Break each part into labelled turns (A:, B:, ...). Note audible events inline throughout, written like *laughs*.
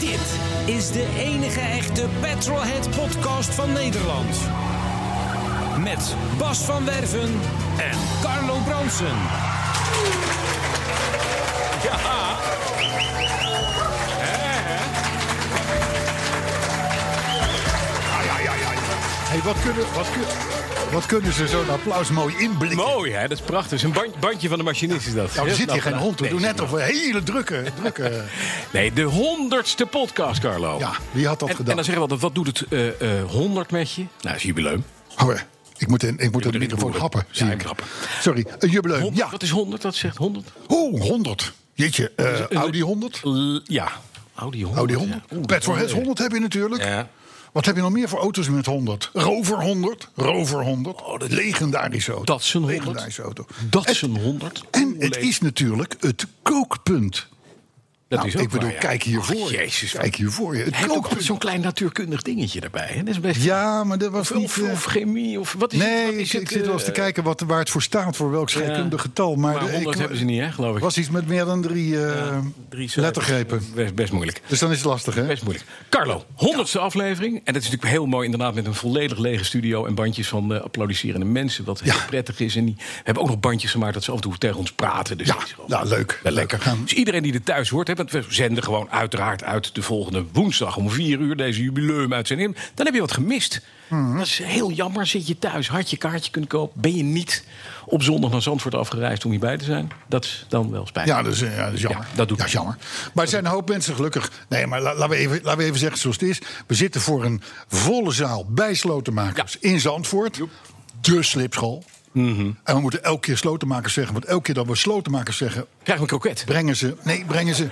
A: Dit is de enige echte Petrolhead podcast van Nederland. Met Bas van Werven en Carlo Bronsen. Ja.
B: Hey, wat, kunnen, wat, kun- wat kunnen ze zo'n applaus mooi inblikken?
C: Mooi, hè? Dat is prachtig. Zo'n band- bandje van de machinist is dat.
B: Nou, er
C: Heel
B: zit hier
C: knap
B: geen
C: gedaan.
B: hond. We
C: Nee,
B: doen
C: is
B: net
C: niet
B: of we hele drukke... drukke
C: waar. Nee, de honderdste podcast, Carlo.
B: ja, wie had dat
C: en, en
B: gedaan?
C: dan zeggen we altijd, wat doet het eh, honderd met je? Nou, is jubileum.
B: Oh, ja. ik moet, in, ik moet
C: moet
B: de
C: erin
B: microfoon
C: roeren.
B: happen.
C: Ja,
B: zie
C: ik
B: ik.
C: happen.
B: Sorry, een jubileum.
C: Hond-
B: Eh, ja,
C: Wat is 100? Dat zegt 100?
B: oh, 100. Jeetje, eh, Audi 100?
C: L- ja. Audi 100.
B: Audi 100.
C: ja. Oeh,
B: Petrolheads
C: dat is wel
B: 100 heb je natuurlijk.
C: Ja.
B: Wat heb je nog meer voor auto's met 100? Rover 100. Rover 100. Legendarische auto.
C: Oh, Dat is een 100.
B: Legendarische auto.
C: leuk. Dat is een 100.
B: En het is natuurlijk het kookpunt.
C: Dat
B: Nou,
C: is ook
B: ik bedoel,
C: waar, ja.
B: kijk hiervoor.
C: Ach, jezus.
B: Kijk hiervoor. Het
C: Hij heeft ook
B: kookpunt.
C: zo'n klein natuurkundig dingetje erbij. Hè? Dat is best...
B: Ja, maar dat was
C: Of,
B: niet...
C: of,
B: eh,
C: of chemie, of wat is het?
B: nee,
C: Wat
B: ik,
C: is
B: ik
C: het,
B: zit wel eens te
C: eh,
B: kijken wat, waar het voor staat, voor welk scheikundig getal. Maar,
C: Maar
B: de-
C: 100
B: ik-
C: hebben ze niet, hè, geloof ik.
B: was iets met meer dan drie, eh,
C: drie cijfers.
B: lettergrepen.
C: Best, best moeilijk.
B: Dus dan is het lastig, hè?
C: Best moeilijk. Carlo, honderdste aflevering. En dat is natuurlijk heel mooi, inderdaad, met een volledig lege studio en bandjes van eh applaudisserende mensen. Wat heel prettig is. En die we hebben ook nog bandjes gemaakt dat ze af en toe tegen ons praten. Dus
B: Ja,
C: dat is wel-
B: nou, leuk.
C: wel
B: Lekker
C: lekker.
B: gaan.
C: Dus iedereen die er thuis hoort, hè, want we zenden gewoon uiteraard uit de volgende woensdag om vier uur deze jubileumuitzending. Dan heb je wat gemist.
B: Mhm.
C: Dat is heel jammer. Zit je thuis, had je kaartje kunnen kopen, ben je niet op zondag naar Zandvoort afgereisd om hierbij te zijn. Dat is dan wel spijtig.
B: Ja, dat is, eh, ja, dat is jammer.
C: Ja, dat doet
B: Ja, is jammer. Maar er zijn een hoop mensen gelukkig. Nee, maar la- laten we, even, laten we even zeggen zoals het is. We zitten voor een volle zaal bij slotenmakers in Zandvoort. De slipschool.
C: Mhm.
B: En we moeten elke keer slotenmakers zeggen. Want elke keer dat we slotenmakers zeggen,
C: Krijg me een kroket.
B: brengen ze... Nee, brengen ze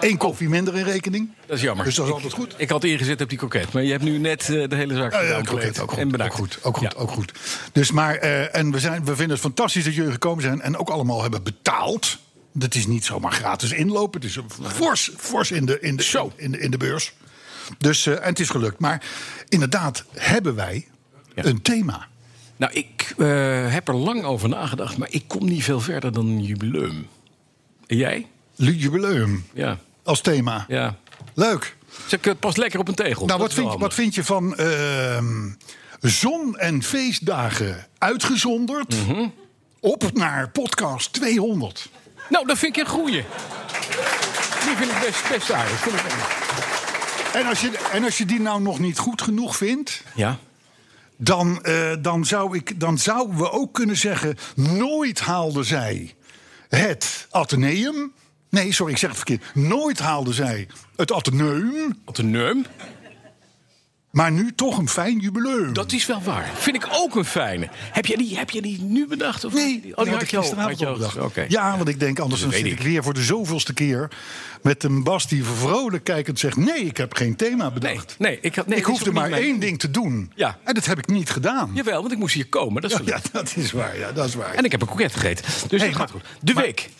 B: één koffie minder in rekening.
C: Dat is jammer.
B: Dus dat is
C: Ik-
B: altijd goed.
C: Ik had ingezet op die kroket, maar je hebt nu net eh, de hele zaak
B: Ja, ja,
C: gedaan,
B: kroket,
C: compleet.
B: ook goed.
C: En bedankt.
B: Ook goed, ook goed,
C: Ja.
B: ook goed. Dus maar, eh, en we, zijn, we vinden het fantastisch dat jullie gekomen zijn en ook allemaal hebben betaald. Dat is niet zomaar gratis inlopen. Het is een fors, fors in, de, in, de,
C: Zo.
B: in, de, in de beurs. Dus, eh, en het is gelukt. Maar inderdaad hebben wij
C: Ja.
B: een thema.
C: Nou, ik eh, heb er lang over nagedacht, maar ik kom niet veel verder dan een jubileum. En jij?
B: Lu- Jubileum
C: Ja.
B: als thema.
C: ja.
B: Leuk.
C: Zeg, het past lekker op een
B: Nou,
C: tegel. Dat
B: wat
C: is wel
B: vind, je- wat
C: handig.
B: vind je van ehm, zon- en feestdagen uitgezonderd
C: Mhm.
B: op naar podcast 200?
C: Nou, dat vind ik een goeie. Die vind ik best, best aardig. Vind ik wel.
B: En als, je, en als je die nou nog niet goed genoeg vindt,
C: Ja.
B: dan, eh, dan, zou ik, dan zouden we ook kunnen zeggen: nooit haalde zij het Atheneum. Nee, sorry, ik zeg het verkeerd. Nooit haalde zij het Atheneum,
C: Wat een neum.
B: maar nu toch een fijn jubileum.
C: Dat is wel waar. Vind ik ook een fijne. Heb jij die, heb jij die nu bedacht? Of
B: Nee,
C: oh, die had
B: ik
C: je al-
B: gisteravond
C: had je al-
B: al bedacht.
C: Oké.
B: Ja, want ik denk anders
C: Dat
B: dan zit
C: weet
B: ik
C: ik.
B: weer voor de zoveelste keer... met een Bas die vrolijk kijkend zegt... nee, ik heb geen thema
C: Nee,
B: bedacht.
C: nee, ik, had, nee,
B: ik
C: dit is
B: hoefde
C: ook niet
B: maar
C: mijn-
B: één ding te doen.
C: Ja.
B: En dat heb ik niet gedaan.
C: Jawel, want ik moest hier komen. Dat is gelukt.
B: Ja, dat is waar. Ja, dat is waar.
C: En ik heb een kroket gegeten. Dus
B: Hey,
C: dat
B: maar-
C: gaat goed. De week.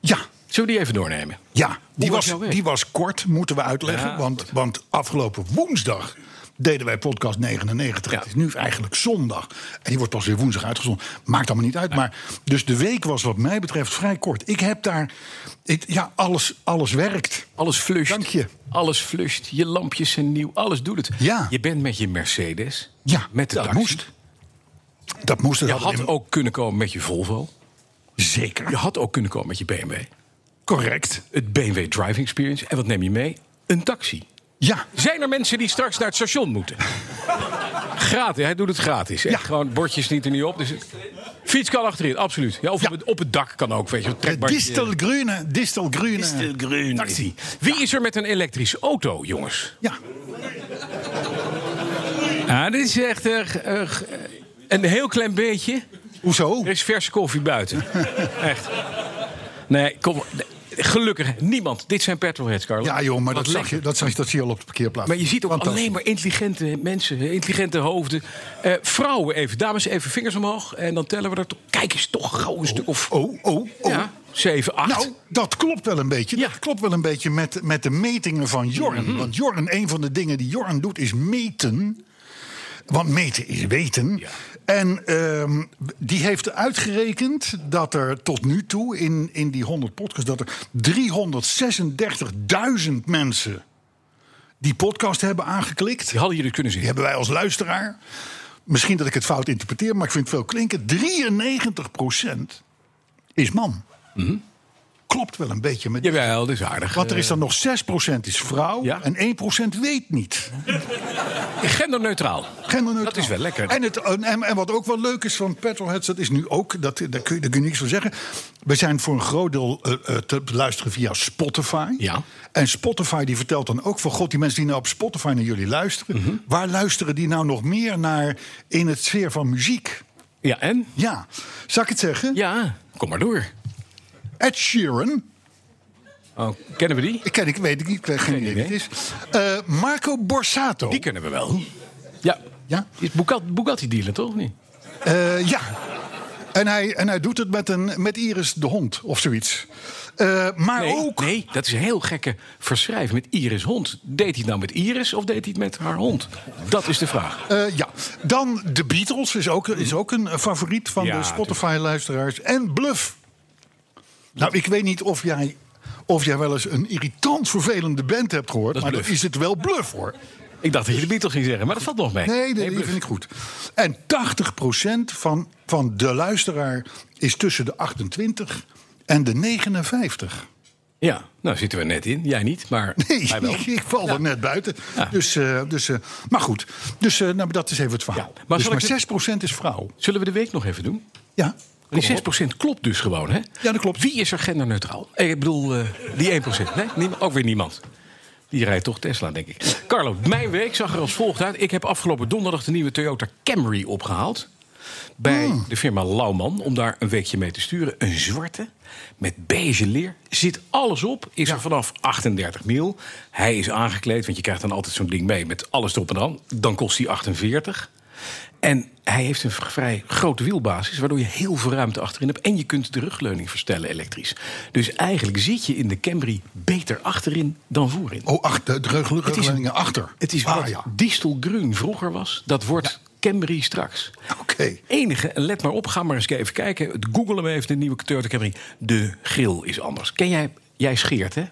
B: ja,
C: Zullen we die even doornemen?
B: Ja, die
C: was
B: was,
C: jouw week?
B: die was kort, moeten we uitleggen.
C: Ja,
B: want, want afgelopen woensdag deden wij podcast 99.
C: Ja.
B: Het is nu eigenlijk zondag. En die wordt pas weer woensdag uitgezonden. Maakt allemaal niet uit. Maar, dus de week was wat mij betreft vrij kort. Ik heb daar... ik- ja, alles, alles werkt.
C: Alles flusht.
B: Dank je.
C: Alles flusht. Je lampjes zijn nieuw. Alles doet het.
B: Ja.
C: Je bent met je Mercedes.
B: Ja,
C: Met de
B: dat
C: taxi.
B: moest. Dat moest er
C: Je had ook kunnen komen met je Volvo.
B: Zeker.
C: Je had ook kunnen komen met je BMW.
B: correct.
C: Het BMW Driving Experience. En wat neem je mee? Een taxi.
B: Ja.
C: Zijn er mensen die straks naar het station moeten? *laughs* gratis, hij doet het gratis. Echt
B: Ja.
C: Gewoon bordjes niet er niet op. Dus het- fiets kan achterin, absoluut. Ja, of
B: Ja.
C: Op, het, op het dak kan ook, weet je. een trekbandje.
B: Distelgrune. Distelgrune.
C: Distelgroen. Taxi. Wie is er met een elektrische auto, jongens?
B: Ja.
C: Ja, dit is echt eh, g- eh, g- een heel klein beetje.
B: Hoezo?
C: *laughs* Er is verse koffie buiten. echt. Nee, kom. nee, Gelukkig niemand. Dit zijn petrolheads, Carlo.
B: Ja, joh, maar
C: Wat
B: dat, zag
C: lekker.
B: je, dat, zag je, dat zie je al op de parkeerplaats.
C: Maar je ziet ook
B: Fantastisch.
C: alleen maar intelligente mensen, intelligente hoofden. Eh, vrouwen even, dames even, vingers omhoog. En dan tellen we er toch. Kijk eens, toch gauw een stuk of
B: Oh, oh, oh.
C: ja, 7, 8.
B: Nou, dat klopt wel een beetje.
C: Ja. hm.
B: Dat klopt wel een beetje met, met de metingen van Jorn. Want Jorn, een van de dingen die Jorn doet, is meten. Want meten is weten.
C: Ja.
B: En ehm, die heeft uitgerekend dat er tot nu toe in, in die 100 podcasts... dat er 336.000 mensen die podcast hebben aangeklikt.
C: Die hadden jullie kunnen zien.
B: Die hebben wij als luisteraar. Misschien dat ik het fout interpreteer, maar ik vind het veel klinken. 93% is man. Klopt wel een beetje met.
C: Jawel, dat is aardig.
B: Want er is dan nog 6% is vrouw
C: Ja.
B: en 1% weet niet.
C: Genderneutraal.
B: Genderneutraal.
C: Dat is wel lekker.
B: En, het, en, en wat ook wel leuk is van Petrolheads, dat is nu ook, dat, daar, kun je, daar kun je niks van zeggen. We zijn voor een groot deel eh, eh, te luisteren via Spotify.
C: Ja.
B: En Spotify die vertelt dan ook van god, die mensen die nou op Spotify naar jullie luisteren,
C: Mhm.
B: waar luisteren die nou nog meer naar in het sfeer van muziek?
C: Ja, en?
B: Ja, zal ik het zeggen?
C: Ja, kom maar door.
B: Ed Sheeran,
C: Oh, kennen we die?
B: ik, ken, ik weet het niet, ik weet geen idee wie het is. Eh, Marco Borsato.
C: Die kennen we wel. Ja.
B: Ja?
C: Die is Bugatti, Bugatti dealer, toch? of Niet?
B: Eh, ja. En hij, en hij doet het met, een, met Iris de hond of zoiets. Eh, maar
C: Nee,
B: ook.
C: nee, dat is een heel gekke verschrijf met Iris hond. Deed hij het nou met Iris of deed hij het met haar hond? Dat is de vraag.
B: eh, ja. Dan de Beatles is ook, is ook een eh, favoriet van
C: Ja,
B: de Spotify-luisteraars. En Bluff. Nou, ik weet niet of jij, of jij wel eens een irritant vervelende band hebt gehoord.
C: Dat is
B: maar
C: Bluff.
B: dan is het wel Bluff hoor.
C: Ik dacht dat je de Beatles ging zeggen, maar dat valt nog mee.
B: Nee, nee die vind ik goed. En 80% van, van de luisteraar is tussen de 28 en de 59.
C: Ja, nou zitten we net in. Jij niet, maar
B: Nee,
C: hij wel.
B: ik, *laughs* ik val er net buiten.
C: Ja.
B: Dus, eh, dus, eh, maar goed, dus, eh, nou, dat is even het verhaal.
C: Ja, maar
B: Maar,
C: zal
B: dus
C: ik
B: maar
C: het-
B: 6% is vrouw.
C: Zullen we de week nog even doen?
B: Ja.
C: Die 6% klopt dus gewoon, hè?
B: Ja, dat klopt.
C: Wie is er genderneutraal? Eh, Ik bedoel, eh, die 1%. Nee, niema- ook weer niemand. Die rijdt toch Tesla, denk ik. Carlo, mijn week zag er als volgt uit. Ik heb afgelopen donderdag de nieuwe Toyota Camry opgehaald. Bij
B: Hmm.
C: de firma Lauwman, om daar een weekje mee te sturen. Een zwarte, met beige leer. Zit alles op, is er vanaf 38 mil. Hij is aangekleed, want je krijgt dan altijd zo'n ding mee... met alles erop en aan. Dan kost hij 48. En hij heeft een vrij grote wielbasis, waardoor je heel veel ruimte achterin hebt. En je kunt de rugleuning verstellen elektrisch. Dus eigenlijk zit je in de Camry beter achterin dan voorin.
B: Oh, achter, de rug-
C: Het is een-
B: rugleuningen achter.
C: Het is wat
B: Ah,
C: ah,
B: ja.
C: distelgroen vroeger was, dat wordt Camry straks.
B: Oké.
C: Enige, en let maar op, ga maar eens even kijken. Het- Google hem even, de nieuwe Toyota Camry. De grill is anders. Ken jij, jij scheert hè?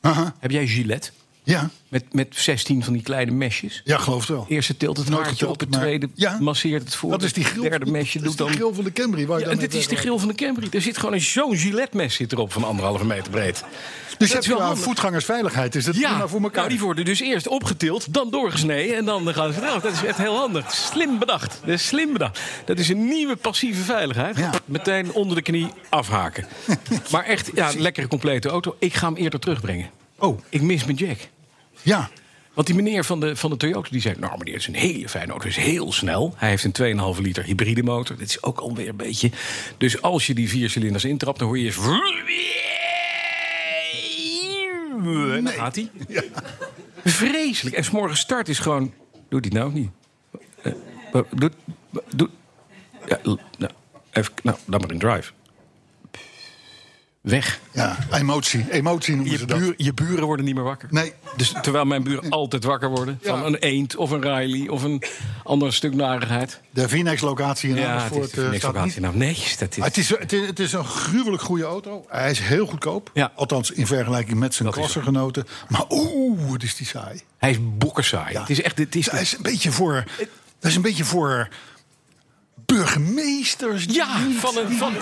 B: Aha.
C: Heb jij Gillette?
B: Ja.
C: Met, met 16 van die kleine mesjes?
B: ja, geloof het wel.
C: Eerste tilt het
B: Nooit
C: haartje
B: geteld,
C: op, het
B: maar-
C: tweede
B: Ja.
C: masseert het voor.
B: Dat is die
C: het
B: grill.
C: derde mesje
B: dat is
C: doet
B: de
C: dan...
B: grill van de Camry. Waar je
C: Ja,
B: dan eh,
C: en dit
B: mee
C: is de
B: weg-
C: grill van de Camry. Er zit gewoon een zo'n Gillette-mes zit erop van anderhalve meter breed.
B: Dus
C: dat
B: heb
C: is
B: je
C: wel
B: aan
C: handig.
B: voetgangersveiligheid. Is dat
C: Ja,
B: prima voor elkaar?
C: nou, die worden dus eerst opgetild, dan doorgesneden en dan gaan ze eraf. Dat is echt heel handig. Slim bedacht. Dat is slim bedacht. Dat is een nieuwe passieve veiligheid.
B: Ja.
C: Meteen onder de knie
B: *laughs*
C: afhaken. maar echt, ja, lekkere complete auto. Ik ga hem eerder terugbrengen.
B: Oh.
C: Ik mis mijn Jack.
B: Ja.
C: Want die meneer van de, van de Toyota die zei: Nou, meneer, het is een hele fijne auto. Het is heel snel. Hij heeft een 2,5 liter hybride motor. Dit is ook alweer een beetje. Dus als je die vier cilinders intrapt, dan hoor je eens. En dan gaat hij. Vreselijk. En 's morgens start is gewoon. Doet hij het nou of niet? Eh, wa- Doet. wa- doet ja, l- nou, even, nou, dan maar in drive. Weg.
B: ja, emotie. Emotie noemen
C: Je,
B: ze dat.
C: buur- je buren worden niet meer wakker.
B: Nee.
C: Dus terwijl mijn
B: *laughs*
C: buren altijd wakker worden
B: Ja.
C: van een eend of een Riley of een ander stuk narigheid.
B: De Vinex-locatie in
C: Ja, het
B: Amersfoort.
C: is de
B: eh,
C: niks
B: staat
C: op aan.
B: niet-
C: Nou, netjes, dat
B: Maar
C: is.
B: Het is, het, is, het is een gruwelijk goede auto. Hij is heel goedkoop.
C: Ja.
B: Althans, in vergelijking met zijn
C: Dat is zo.
B: klasgenoten. Maar oeh, het is die saai.
C: Hij is bokkersaai. Het is echt. Het is
B: Dat is een beetje voor. Dat is een beetje voor burgemeesters. die
C: ja,
B: niet-
C: van, een, van,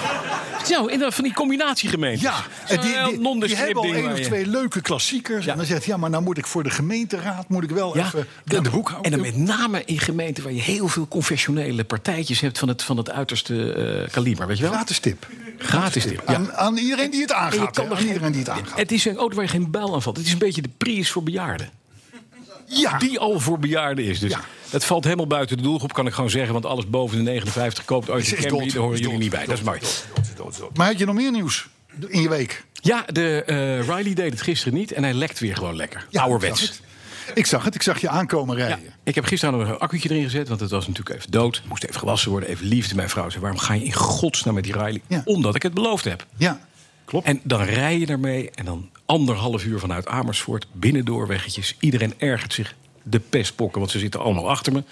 C: nou, inderdaad, van die combinatiegemeentes.
B: Ja,
C: Zo'n
B: en die,
C: heel
B: die, die
C: nondescript
B: hebben al
C: ding
B: één
C: waar
B: of
C: je-
B: twee leuke klassiekers.
C: Ja.
B: En dan zegt ja, maar nou moet ik voor de gemeenteraad moet ik wel
C: Ja,
B: even
C: en
B: aan de
C: dan-
B: hoek houden.
C: En dan met name in gemeenten waar je heel veel confessionele partijtjes hebt van het, van het uiterste eh, kaliber, weet je wel?
B: Gratis tip.
C: Gratis tip. Ja.
B: Aan, aan iedereen die het
C: En je
B: aangaat.
C: kan
B: hè, Aan
C: er geen-
B: iedereen die het aangaat.
C: Het is een auto waar je geen buil aan valt. Het is een beetje de Prius voor bejaarden.
B: Ja,
C: Die al voor bejaarden is. Dus
B: Ja.
C: dat valt helemaal buiten de doelgroep, kan ik gewoon zeggen. Want alles boven de 59 koopt ooit
B: Is-
C: een
B: is
C: Camry.
B: dood.
C: Daar horen
B: Is
C: jullie
B: dood.
C: niet bij. Dat is mooi.
B: maar had je nog meer nieuws? in je week.
C: Ja, de, eh, Riley deed het gisteren niet en hij lekt weer gewoon lekker.
B: Ja,
C: Ouderwets.
B: Ik zag, het. ik zag het. Ik zag je aankomen
C: Ja,
B: rijden.
C: ik heb gisteren nog een accu'tje erin gezet, want het was natuurlijk even dood. Moest even gewassen worden, even liefde. Mijn vrouw zei, waarom ga je in godsnaam met die Riley?
B: Ja.
C: Omdat ik het beloofd heb.
B: Ja. Klopt.
C: En dan rij je ermee en dan anderhalf uur vanuit Amersfoort, binnen doorweggetjes. Iedereen ergert zich de pestpokken, want ze zitten allemaal achter me.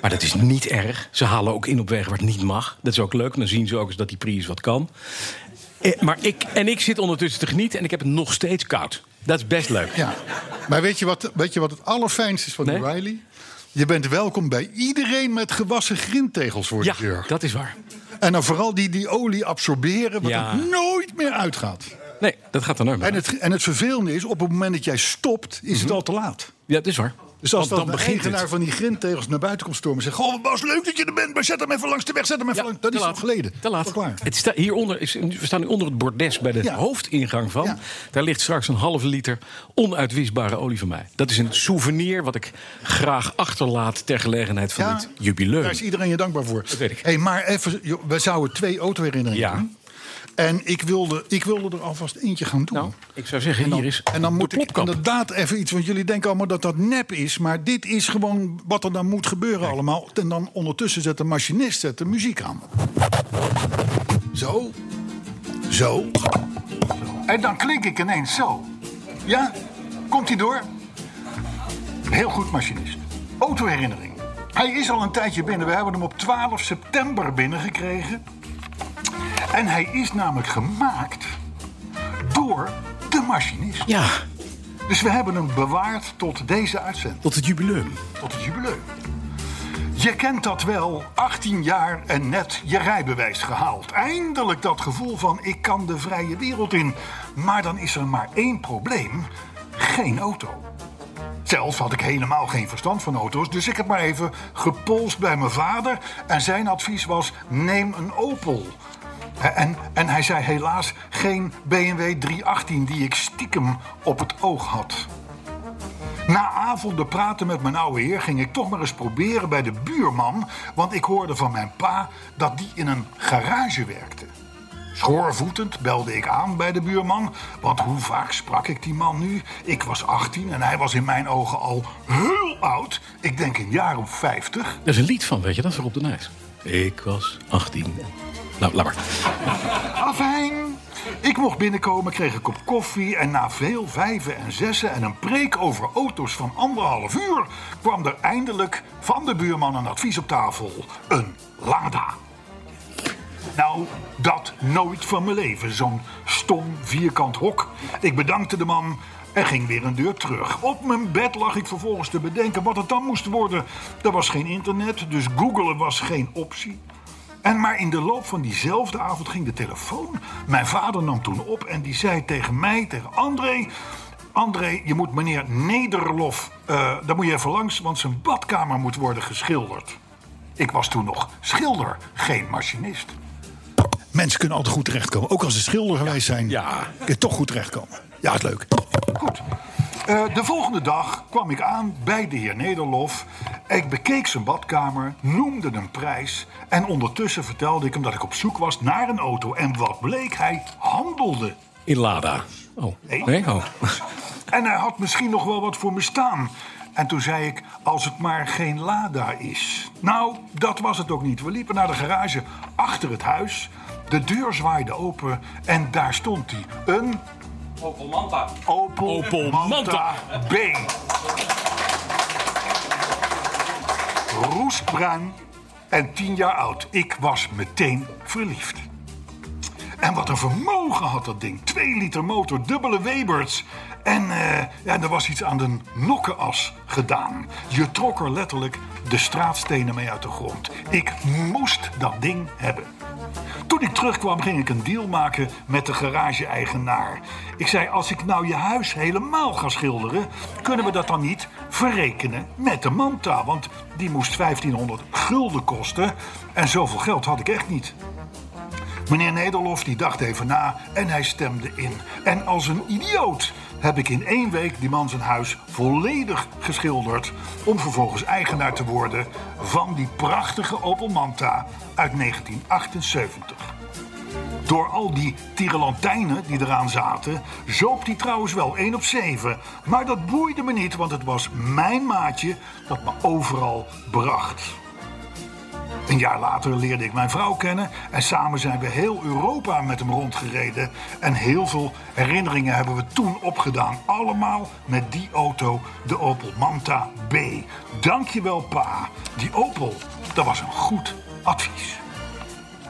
C: Maar dat is niet erg. Ze halen ook in op wegen waar het niet mag. Dat is ook leuk. Dan zien ze ook eens dat die Prius wat kan. Eh, maar ik, en ik zit ondertussen te genieten en ik heb het nog steeds koud. Dat is best leuk.
B: Ja. Maar weet je, wat, weet je wat het allerfijnste is van die
C: Nee?
B: Riley? Je bent welkom bij iedereen met gewassen grindtegels voor de
C: Ja,
B: deur.
C: dat is waar.
B: En dan vooral die die olie absorberen, wat
C: Ja.
B: er nooit meer uitgaat.
C: Nee, dat gaat dan ook.
B: En het, en het vervelende is, op het moment dat jij stopt, is het al te laat.
C: Ja, dat is waar.
B: Dus als
C: Mhm. Want
B: dan de eigenaar van die grindtegels naar buiten komt stormen... en zegt, goh, Bas, leuk dat je er bent, maar zet hem even langs de weg. Zet hem even
C: Ja,
B: langs. Dat
C: te
B: is
C: laat.
B: al geleden.
C: Te laat.
B: Al klaar.
C: Het sta, hieronder is, we staan nu onder het bordes bij de
B: Ja.
C: hoofdingang van.
B: Ja.
C: Daar ligt straks een halve liter onuitwisbare olie van mij. Dat is een souvenir wat ik graag achterlaat ter gelegenheid van
B: Ja,
C: dit jubileum.
B: Daar is iedereen je dankbaar voor. Dat
C: weet ik.
B: Hey, maar even, joh, we zouden twee auto-herinneringen
C: Ja.
B: doen. En ik wilde, ik wilde er alvast eentje gaan doen.
C: Nou, ik zou zeggen,
B: en dan,
C: hier is
B: en dan
C: de
B: moet ik
C: plopkap.
B: inderdaad even iets... want jullie denken allemaal dat dat nep is... maar dit is gewoon wat er dan moet gebeuren allemaal. En dan ondertussen zet de machinist zet de muziek aan. Zo. Zo. En dan klink ik ineens zo. Ja, komt hij door? Heel goed, machinist. Autoherinnering. Hij is al een tijdje binnen. We hebben hem op 12 september binnengekregen. En hij is namelijk gemaakt door de machinist.
C: Ja,
B: Dus we hebben hem bewaard tot deze uitzending,
C: tot het jubileum.
B: tot het jubileum. Je kent dat wel, 18 jaar en net je rijbewijs gehaald. Eindelijk dat gevoel van ik kan de vrije wereld in. Maar dan is er maar één probleem: geen auto. Zelf had ik helemaal geen verstand van auto's, dus ik heb maar even gepolst bij mijn vader. En zijn advies was: neem een Opel. Hè, En, en hij zei helaas geen BMW 318 die ik stiekem op het oog had. Na avonden praten met mijn oude heer ging ik toch maar eens proberen bij de buurman, want ik hoorde van mijn pa dat die in een garage werkte. Schoorvoetend belde ik aan bij de buurman, want hoe vaak sprak ik die man nu? Ik was 18 en hij was in mijn ogen al heel oud. Ik denk een jaar of 50.
C: Er is een lied van, weet je, dat is Rob de Nijs. Ik was 18. Nou, laat maar.
B: Afijn. Ik mocht binnenkomen, kreeg een kop koffie en na veel vijven en zessen en een preek over auto's van anderhalf uur kwam er eindelijk van de buurman een advies op tafel: een Lada. Nou, dat nooit van mijn leven, zo'n stom vierkant hok. Ik bedankte de man en ging weer een deur terug. Op mijn bed lag ik vervolgens te bedenken wat het dan moest worden. Er was geen internet, dus googelen was geen optie. En maar in de loop van diezelfde avond ging de telefoon. Mijn vader nam toen op en die zei tegen mij, tegen André... André, je moet meneer Nederlof, eh daar moet je even langs... want zijn badkamer moet worden geschilderd. Ik was toen nog schilder, geen machinist. Mensen kunnen altijd goed terechtkomen. Ook als ze schilder geweest zijn,
C: Ja.
B: kun je toch goed terechtkomen. Ja, is leuk. Goed. Eh, de volgende dag kwam ik aan bij de heer Nederlof. Ik bekeek zijn badkamer, noemde een prijs... en ondertussen vertelde ik hem dat ik op zoek was naar een auto. En wat bleek, hij handelde.
C: In Lada. Oh,
B: Nee.
C: nee? Oh.
B: *laughs* En hij had misschien nog wel wat voor me staan. En toen zei ik, als het maar geen Lada is. Nou, dat was het ook niet. We liepen naar de garage achter het huis. De deur zwaaide open en daar stond hij. Een
D: Opel Manta.
B: Opel,
C: Opel Manta.
B: Manta B. Roestbruin en tien jaar oud. Ik was meteen verliefd. En wat een vermogen had dat ding. Twee liter motor, dubbele Weberts. En eh, ja, er was iets aan de nokkenas gedaan. Je trok er letterlijk de straatstenen mee uit de grond. Ik moest dat ding hebben. Toen ik terugkwam ging ik een deal maken met de garage-eigenaar. Ik zei, als ik nou je huis helemaal ga schilderen... kunnen we dat dan niet verrekenen met de Manta? Want die moest 1500 gulden kosten en zoveel geld had ik echt niet. Meneer Nederlof die dacht even na en hij stemde in. En als een idioot heb ik in één week die man zijn huis volledig geschilderd... om vervolgens eigenaar te worden van die prachtige Opel Manta uit 1978.
E: Door al die tirelantijnen die eraan zaten, zoop die trouwens wel 1 op 7. Maar dat boeide me niet, want het was mijn maatje dat me overal bracht. Een jaar later leerde ik mijn vrouw kennen en samen zijn we heel Europa met hem rondgereden. En heel veel herinneringen hebben we toen opgedaan. Allemaal met die auto, de Opel Manta B. Dankjewel pa. Die Opel, dat was een goed advies.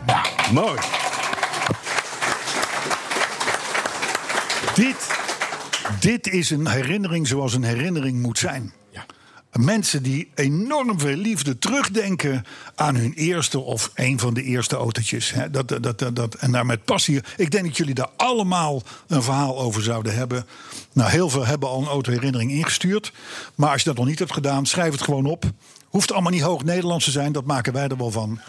E: Nou,
F: Mooi.
B: Dit, dit is een herinnering zoals een herinnering moet zijn. Mensen die enorm veel liefde terugdenken aan hun eerste of een van de eerste autootjes. hè. Dat, dat, dat, dat, en daar met passie. Ik denk dat jullie daar allemaal een verhaal over zouden hebben. Nou, heel veel hebben al een autoherinnering ingestuurd. Maar als je dat nog niet hebt gedaan, schrijf het gewoon op. Hoeft allemaal niet hoog Nederlands te zijn, dat maken wij er wel van.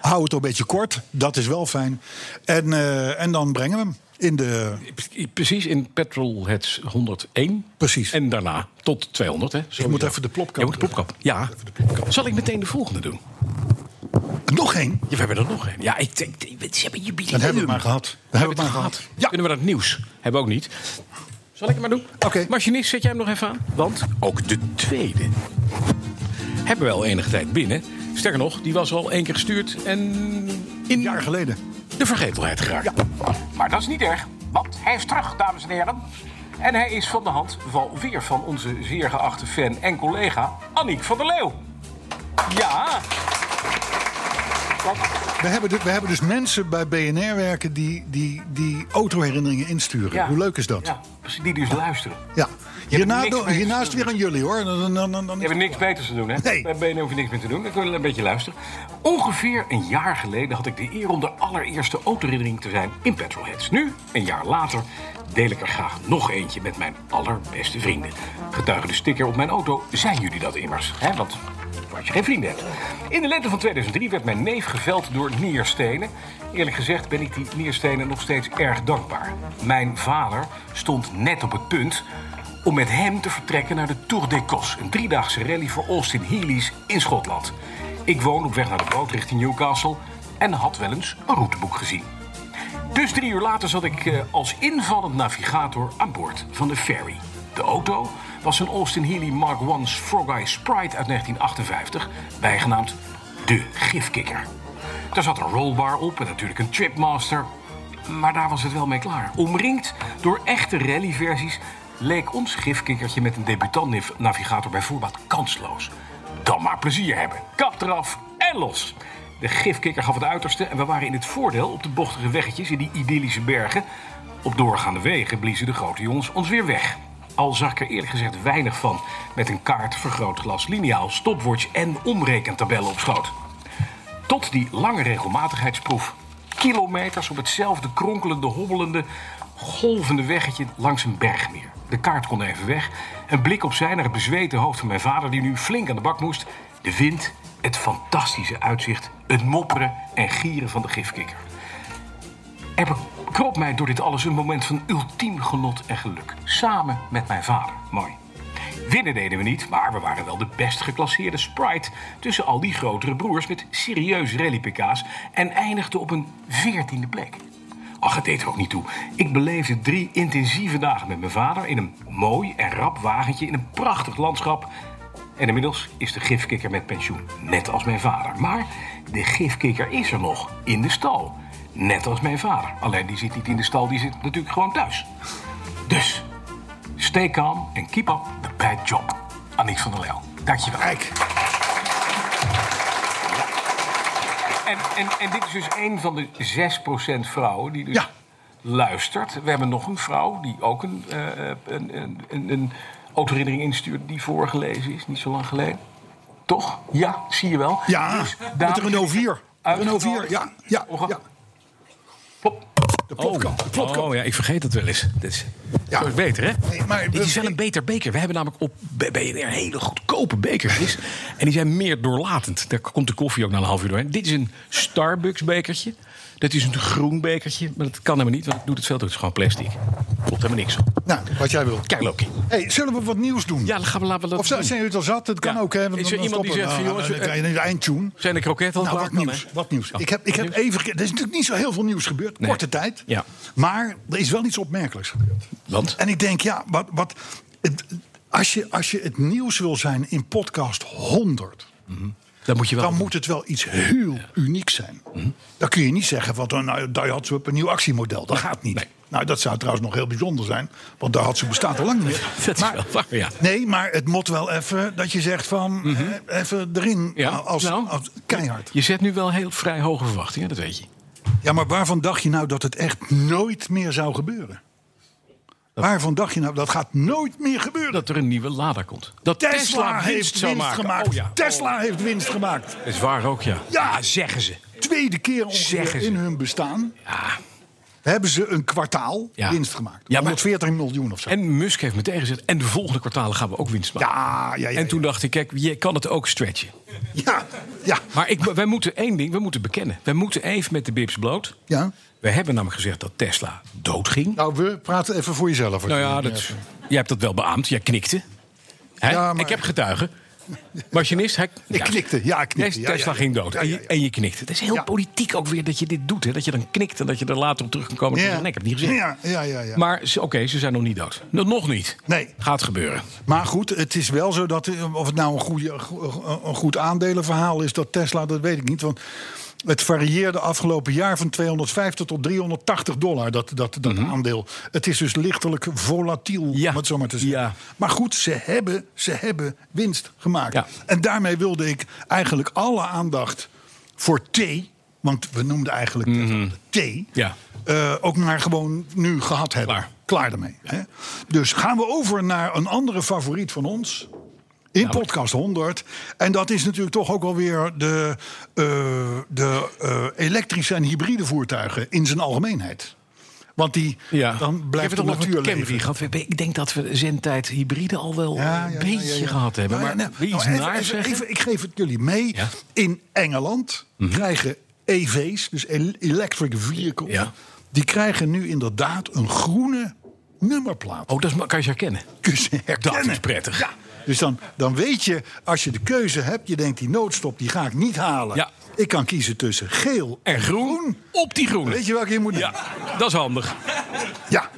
B: Hou het een beetje kort, dat is wel fijn. En, eh, en dan brengen we hem in de
G: Precies in Petrolheads 101.
B: Precies. Oh,
G: En daarna tot 200. Hè, sowieso.
B: dus moet even de plopkap
G: Je moet de plopkap. Ja. Zal ik meteen de volgende doen?
B: Nog één.
G: Ja, we hebben er nog een. Ja, ik denk, het is een jubileum.
B: Dan hebben we het maar gehad. Dan hebben we het maar gehad.
G: Ja. Kunnen we dat nieuws? Hebben we ook niet. Zal ik het maar doen?
B: Oké.
G: Machinist, zet jij hem nog even aan? Want ook de tweede hebben we al enige tijd binnen. Sterker nog, die was al één keer gestuurd en in
B: Een jaar geleden.
G: de vergetelheid geraakt.
C: Maar dat is niet erg, want hij is terug, dames en heren. En hij is van de hand van weer van onze zeer geachte fan en collega Annick van der Leeuw. Ja,
B: We hebben, dus, we hebben dus mensen bij BNR werken die, die, die autoherinneringen insturen.
C: ja.
B: Hoe leuk is dat?
C: Ja, precies, die dus luisteren.
B: Ja. Hierna
C: niks
B: do-
C: mee
B: hiernaast
C: te
B: weer aan jullie hoor. Dan, dan, dan, dan,
C: Je hebt niks beters te doen, hè?
B: Nee.
C: Bij BNN hoef je niks meer te doen. Dan kun je een beetje luisteren. Ongeveer een jaar geleden had ik de eer om de allereerste autoherinnering te zijn in Petrolheads. Nu, een jaar later, deel ik er graag nog eentje met mijn allerbeste vrienden. Getuige de sticker op mijn auto, zijn jullie dat immers? Hè? Want als je geen vrienden hebt. In de lente van 2003 werd mijn neef geveld door nierstenen. Eerlijk gezegd ben ik die nierstenen nog steeds erg dankbaar. Mijn vader stond net op het punt om met hem te vertrekken naar de Tour de Cos, een driedaagse rally voor Austin Healey's in Schotland. Ik woon op weg naar de boot richting Newcastle en had wel eens een routeboek gezien. Dus drie uur later zat ik eh, als invallend navigator aan boord van de ferry. De auto was een Austin Healey Mark I's Frog Eye Sprite uit 1958, bijgenaamd de Gifkikker. Daar zat een rollbar op en natuurlijk een Tripmaster. Maar daar was het wel mee klaar. Omringd door echte rallyversies leek ons gifkikkertje met een debutant-navigator bij voorbaat kansloos. Dan maar plezier hebben. Kap eraf en los. De gifkikker gaf het uiterste en we waren in het voordeel op de bochtige weggetjes in die idyllische bergen. Op doorgaande wegen bliezen de grote jongens ons weer weg. Al zag ik er eerlijk gezegd weinig van met een kaart, vergrootglas, liniaal, stopwatch en omrekentabellen op schoot. Tot die lange regelmatigheidsproef. Kilometers op hetzelfde kronkelende, hobbelende, golvende weggetje langs een bergmeer. De kaart kon even weg. Een blik opzij naar het bezweten hoofd van mijn vader, die nu flink aan de bak moest. De wind, het fantastische uitzicht, het mopperen en gieren van de gifkikker. Er bekroop mij door dit alles een moment van ultiem genot en geluk. Samen met mijn vader. Mooi. Winnen deden we niet, maar we waren wel de best geclasseerde sprite tussen al die grotere broers met serieus rallypk's en eindigden op een veertiende plek. Ach, het deed er ook niet toe. Ik beleefde drie intensieve dagen met mijn vader in een mooi en rap wagentje in een prachtig landschap en inmiddels is de gifkikker met pensioen, net als mijn vader. Maar de gifkikker is er nog, in de stal. Net als mijn vader. Alleen die zit niet in de stal, die zit natuurlijk gewoon thuis. Dus, stay calm en keep up the bad job. Annick van der Leeuw, dankjewel.
B: Kijk,
C: En, en, en dit is dus een van de 6% vrouwen die dus
B: Ja.
C: luistert. We hebben nog een vrouw die ook een, eh een, een, een, een autoherinnering instuurt die voorgelezen is, niet zo lang geleden. Toch? Ja, zie je wel.
B: ja,
C: Dus,
B: met
C: dames-
B: de Renault 4. De Renault 4,
C: Uitgenodigd.
B: ja. ja, ja.
C: Ongeacht.
B: De plopkap. de plopkap.
G: Oh ja, ik vergeet dat wel eens. Dit is,
B: Ja.
G: zo is beter, hè?
B: Nee, maar-
G: Dit is wel een beter beker. We hebben namelijk op B- BNR hele goedkope bekertjes. en die zijn meer doorlatend. Daar komt de koffie ook na een half uur doorheen. Dit is een Starbucks bekertje. Dat is een groen bekertje, maar dat kan helemaal niet, want het doet het veel. Het is gewoon plastic.
C: Klopt helemaal niks. op.
B: Nou, wat jij wil.
C: Kijk, Loki.
B: Hey, zullen we wat nieuws doen?
C: Ja, dan gaan we laten we dat
B: of zijn
C: doen.
B: jullie het al zat? Dat kan
C: Ja.
B: ook, hè? want
C: Is er
B: dan- dan
C: iemand die
B: stoppen we-
C: zegt van,
B: nou,
C: jongens,
B: dan kan je in de eindtune.
C: Zijn de kroketten al
B: Nou,
C: klaar?
B: wat
C: Kan,
B: nieuws.
C: hè?
B: Wat nieuws.
C: Oh,
B: Ik heb, ik heb
C: nieuws?
B: even... ge- Er is natuurlijk niet zo heel veel nieuws gebeurd.
C: Nee.
B: Korte tijd.
C: Ja.
B: Maar er is wel iets opmerkelijks gebeurd.
C: Want?
B: En ik denk, ja, wat... wat het- als, je, als je het nieuws wil zijn in podcast 100...
C: Dat moet je wel. Mhm.
B: dan
G: *laughs*
B: moet het wel iets heel unieks zijn. Dan kun je niet zeggen, want dan, nou, Daihatsu heeft een nieuw actiemodel. Dat gaat niet.
C: Nee.
B: Nou, dat zou trouwens nog heel bijzonder zijn. Want Daihatsu bestaat al lang niet meer.
C: *laughs* Dat is wel waar, ja.
B: Nee, maar het moet wel even dat je zegt van... eh, even erin
C: Mhm.
B: eh,
C: Ja,
B: als,
C: nou.
B: als keihard.
C: Je zet nu wel heel vrij hoge verwachtingen, dat weet je.
B: Ja, maar waarvan dacht je nou dat het echt nooit meer zou gebeuren? Waarvan dacht je nou, dat gaat nooit meer gebeuren?
C: Dat er een nieuwe Lada komt. Dat
B: Tesla,
C: Tesla,
B: heeft winst,
C: zou maken.
B: gemaakt.
C: Oh, ja.
B: Tesla heeft winst gemaakt.
C: Dat is waar ook, ja.
B: Ja.
C: zeggen ze.
B: Tweede keer ongeveer
C: Zeggen ze.
B: in hun bestaan.
C: Ja.
B: hebben ze een kwartaal
C: Ja.
B: winst gemaakt.
C: Ja, maar-
B: 140 miljoen of zo.
C: En Musk heeft meteen gezegd, en de volgende kwartalen gaan we ook winst maken.
B: ja, ja, ja,
C: en toen dacht ik, kijk, je kan het ook stretchen.
B: ja, ja,
C: Maar ik, wij moeten één ding, we moeten bekennen. We moeten even met de bibs bloot.
B: ja.
C: We hebben namelijk gezegd dat Tesla doodging.
B: Nou, we praten even voor jezelf.
C: Nou ja, dat, jij hebt dat wel beaamd. Jij knikte. Hè?
B: Ja, maar-
C: Ik heb getuigen. Machinist, hij...
B: *laughs* Ik knikte, ja, ik knikte,
C: Nee,
B: ja, ja,
C: Tesla
B: ja.
C: ging dood.
B: Ja,
C: En,
B: ja,
C: je,
B: ja.
C: en je knikte. Het is heel
B: Ja.
C: politiek ook weer dat je dit doet. Hè? Dat je dan knikt en dat je er later op terug kan komen. en
B: Ja.
C: zeggen, Nee, ik heb het niet gezien.
B: Ja, ja, ja, ja.
C: Maar ze- oké, ze zijn nog niet dood. Nog- Nog niet.
B: Nee.
C: Gaat gebeuren.
B: Maar goed, het is wel zo dat, eh, of het nou een, goede, go- een goed aandelenverhaal is, dat Tesla, dat weet ik niet. Want het varieerde afgelopen jaar van 250 tot 380 dollar, dat, dat, dat aandeel. Het is dus lichtelijk volatiel,
C: Mhm. Ja.
B: om het zo maar te zeggen.
C: Ja.
B: Maar goed, ze hebben, ze hebben winst gemaakt.
C: Ja.
B: En daarmee wilde ik eigenlijk alle aandacht voor T, want we noemden eigenlijk Tesla T,
C: Mhm. Ja.
B: eh, ook maar gewoon nu gehad hebben.
C: Klaar.
B: Klaar ermee. Hè? Dus gaan we over naar een andere favoriet van ons. In podcast 100. En dat is natuurlijk toch ook alweer de, eh, de eh, elektrische en hybride voertuigen in zijn algemeenheid. Want die, dan
C: Ik heb
B: blijft
C: het
B: de
C: al over
B: natuur
C: Camry
B: leven.
C: gehad. We hebben- Ik denk dat we zendtijd hybride al wel
B: Ja,
C: een
B: ja,
C: beetje
B: ja, ja, ja.
C: gehad hebben.
B: Nou
C: Maar
B: ja, nou,
C: wil je iets
B: nou, even-
C: naar
B: even-
C: zeggen?
B: even- ik geef het jullie mee.
C: Ja. Mhm.
B: In Engeland krijgen EV's, dus el- electric vehicles...
C: Ja.
B: die krijgen nu inderdaad een groene nummerplaat.
C: Oh, dat is, ma- kan je ze herkennen.
B: Kun je ze herkennen.
C: is prettig.
B: Ja. Dus dan, dan weet je, als je de keuze hebt... je denkt, die noodstop die ga ik niet halen.
C: Ja.
B: Ik kan kiezen tussen geel en,
C: En groen op die groene.
B: Weet je welke je moet nemen?
C: Ja, dat is handig.
B: Ja,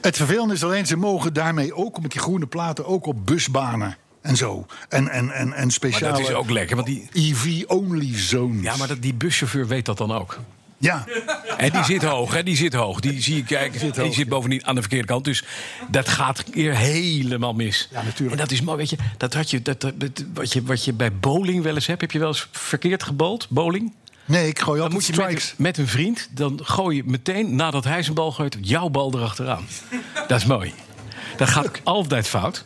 B: het vervelende is alleen, ze mogen daarmee ook met die groene platen ook op busbanen en zo. En, en, en, en
C: Maar
B: speciale
C: dat is ook lekker, want die...
B: EV-only zones.
C: Ja, maar dat, die buschauffeur weet dat dan ook.
B: Ja.
C: En die zit hoog, hè? Die zit hoog. Die zie je kijken. en die zit bovendien aan de verkeerde kant. Dus dat gaat hier helemaal mis.
B: Ja, natuurlijk.
C: En dat is mooi, weet je. Dat had je, dat, dat- dat- wat je, wat je bij bowling wel eens hebt. Heb je wel eens verkeerd gebold, bowling?
B: Nee, ik gooi
C: Dan
B: altijd
C: moet je met,
B: strikes.
C: met een vriend, dan gooi je meteen, nadat hij zijn bal gooit, jouw bal erachteraan. Dat is mooi. Dat gaat altijd fout.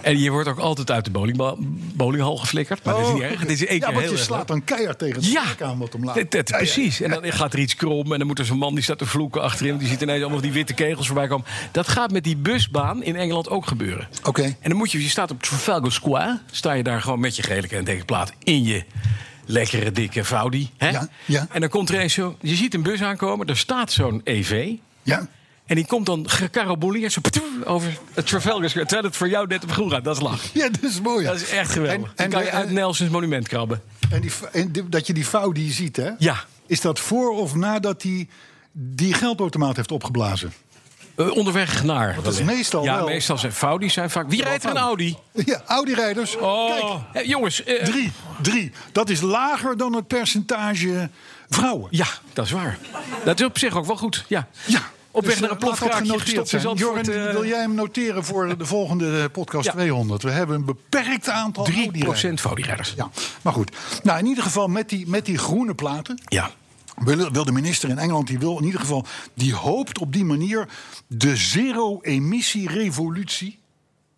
C: En je wordt ook altijd uit de bowlingbal- bowlinghal geflikkerd. Maar dat is niet erg. Het is één
B: Oh. ja,
C: keer
B: want
C: heel
B: je
C: erg leuk.
B: slaat een keihard tegen het
C: Ja,
B: strik aan wat omlaag.
C: Dat- dat-
B: Ja, ja, ja.
C: precies. En dan gaat er iets krom en dan moet er zo'n man die staat te vloeken achterin. Die ziet ineens allemaal die witte kegels voorbij komen. Dat gaat met die busbaan in Engeland ook gebeuren.
B: Oké.
C: En dan moet je, je staat op Trafalgar Square, sta je daar gewoon met je gele kentekenplaat in je lekkere dikke Vaudi. Hè?
B: Ja, ja.
C: En dan komt er eens zo, je ziet een bus aankomen, er staat zo'n EV.
B: Ja.
C: En die komt dan gekaraboleerd zo ptoe, over het Trafalgar Square. Terwijl het voor jou net op groen gaat, dat is lachen.
B: ja, dat is mooi. ja.
C: Dat is echt geweldig. En,
B: En, en,
C: kan
B: de-
C: je uit Nelsons monument krabben.
B: en die, en die- dat je die vouw die je ziet, hè?
C: Ja.
B: Is dat voor of nadat hij die geldautomaat heeft opgeblazen?
C: Eh, onderweg naar.
B: dat is
C: wellicht.
B: meestal
C: Ja,
B: wel-
C: meestal zijn Audi's zijn vaak. Wie rijdt er een Audi?
B: Ja, Audi-rijders. Kijk,
C: Oh, eh, jongens. eh,
B: drie, drie. Dat is lager dan het percentage vrouwen.
C: Ja, dat is waar. Dat is op zich ook wel goed. Ja.
B: Ja.
C: Op weg
B: Dus,
C: naar een
B: eh, laat dat
C: plofkraakje
B: genoteerd
C: gestopt in
B: zijn.
C: Zandvoort.
B: Jorn,
C: eh,
B: wil jij hem noteren voor de volgende eh, podcast
C: Ja.
B: 200? We hebben een beperkt aantal
C: 3%
B: Audi-rijders.
C: Audi-rijders.
B: Ja, maar goed. Nou, in ieder geval met die, met die groene platen...
C: Ja.
B: wil wil de minister in Engeland, die wil in ieder geval... die hoopt op die manier de zero-emissie-revolutie...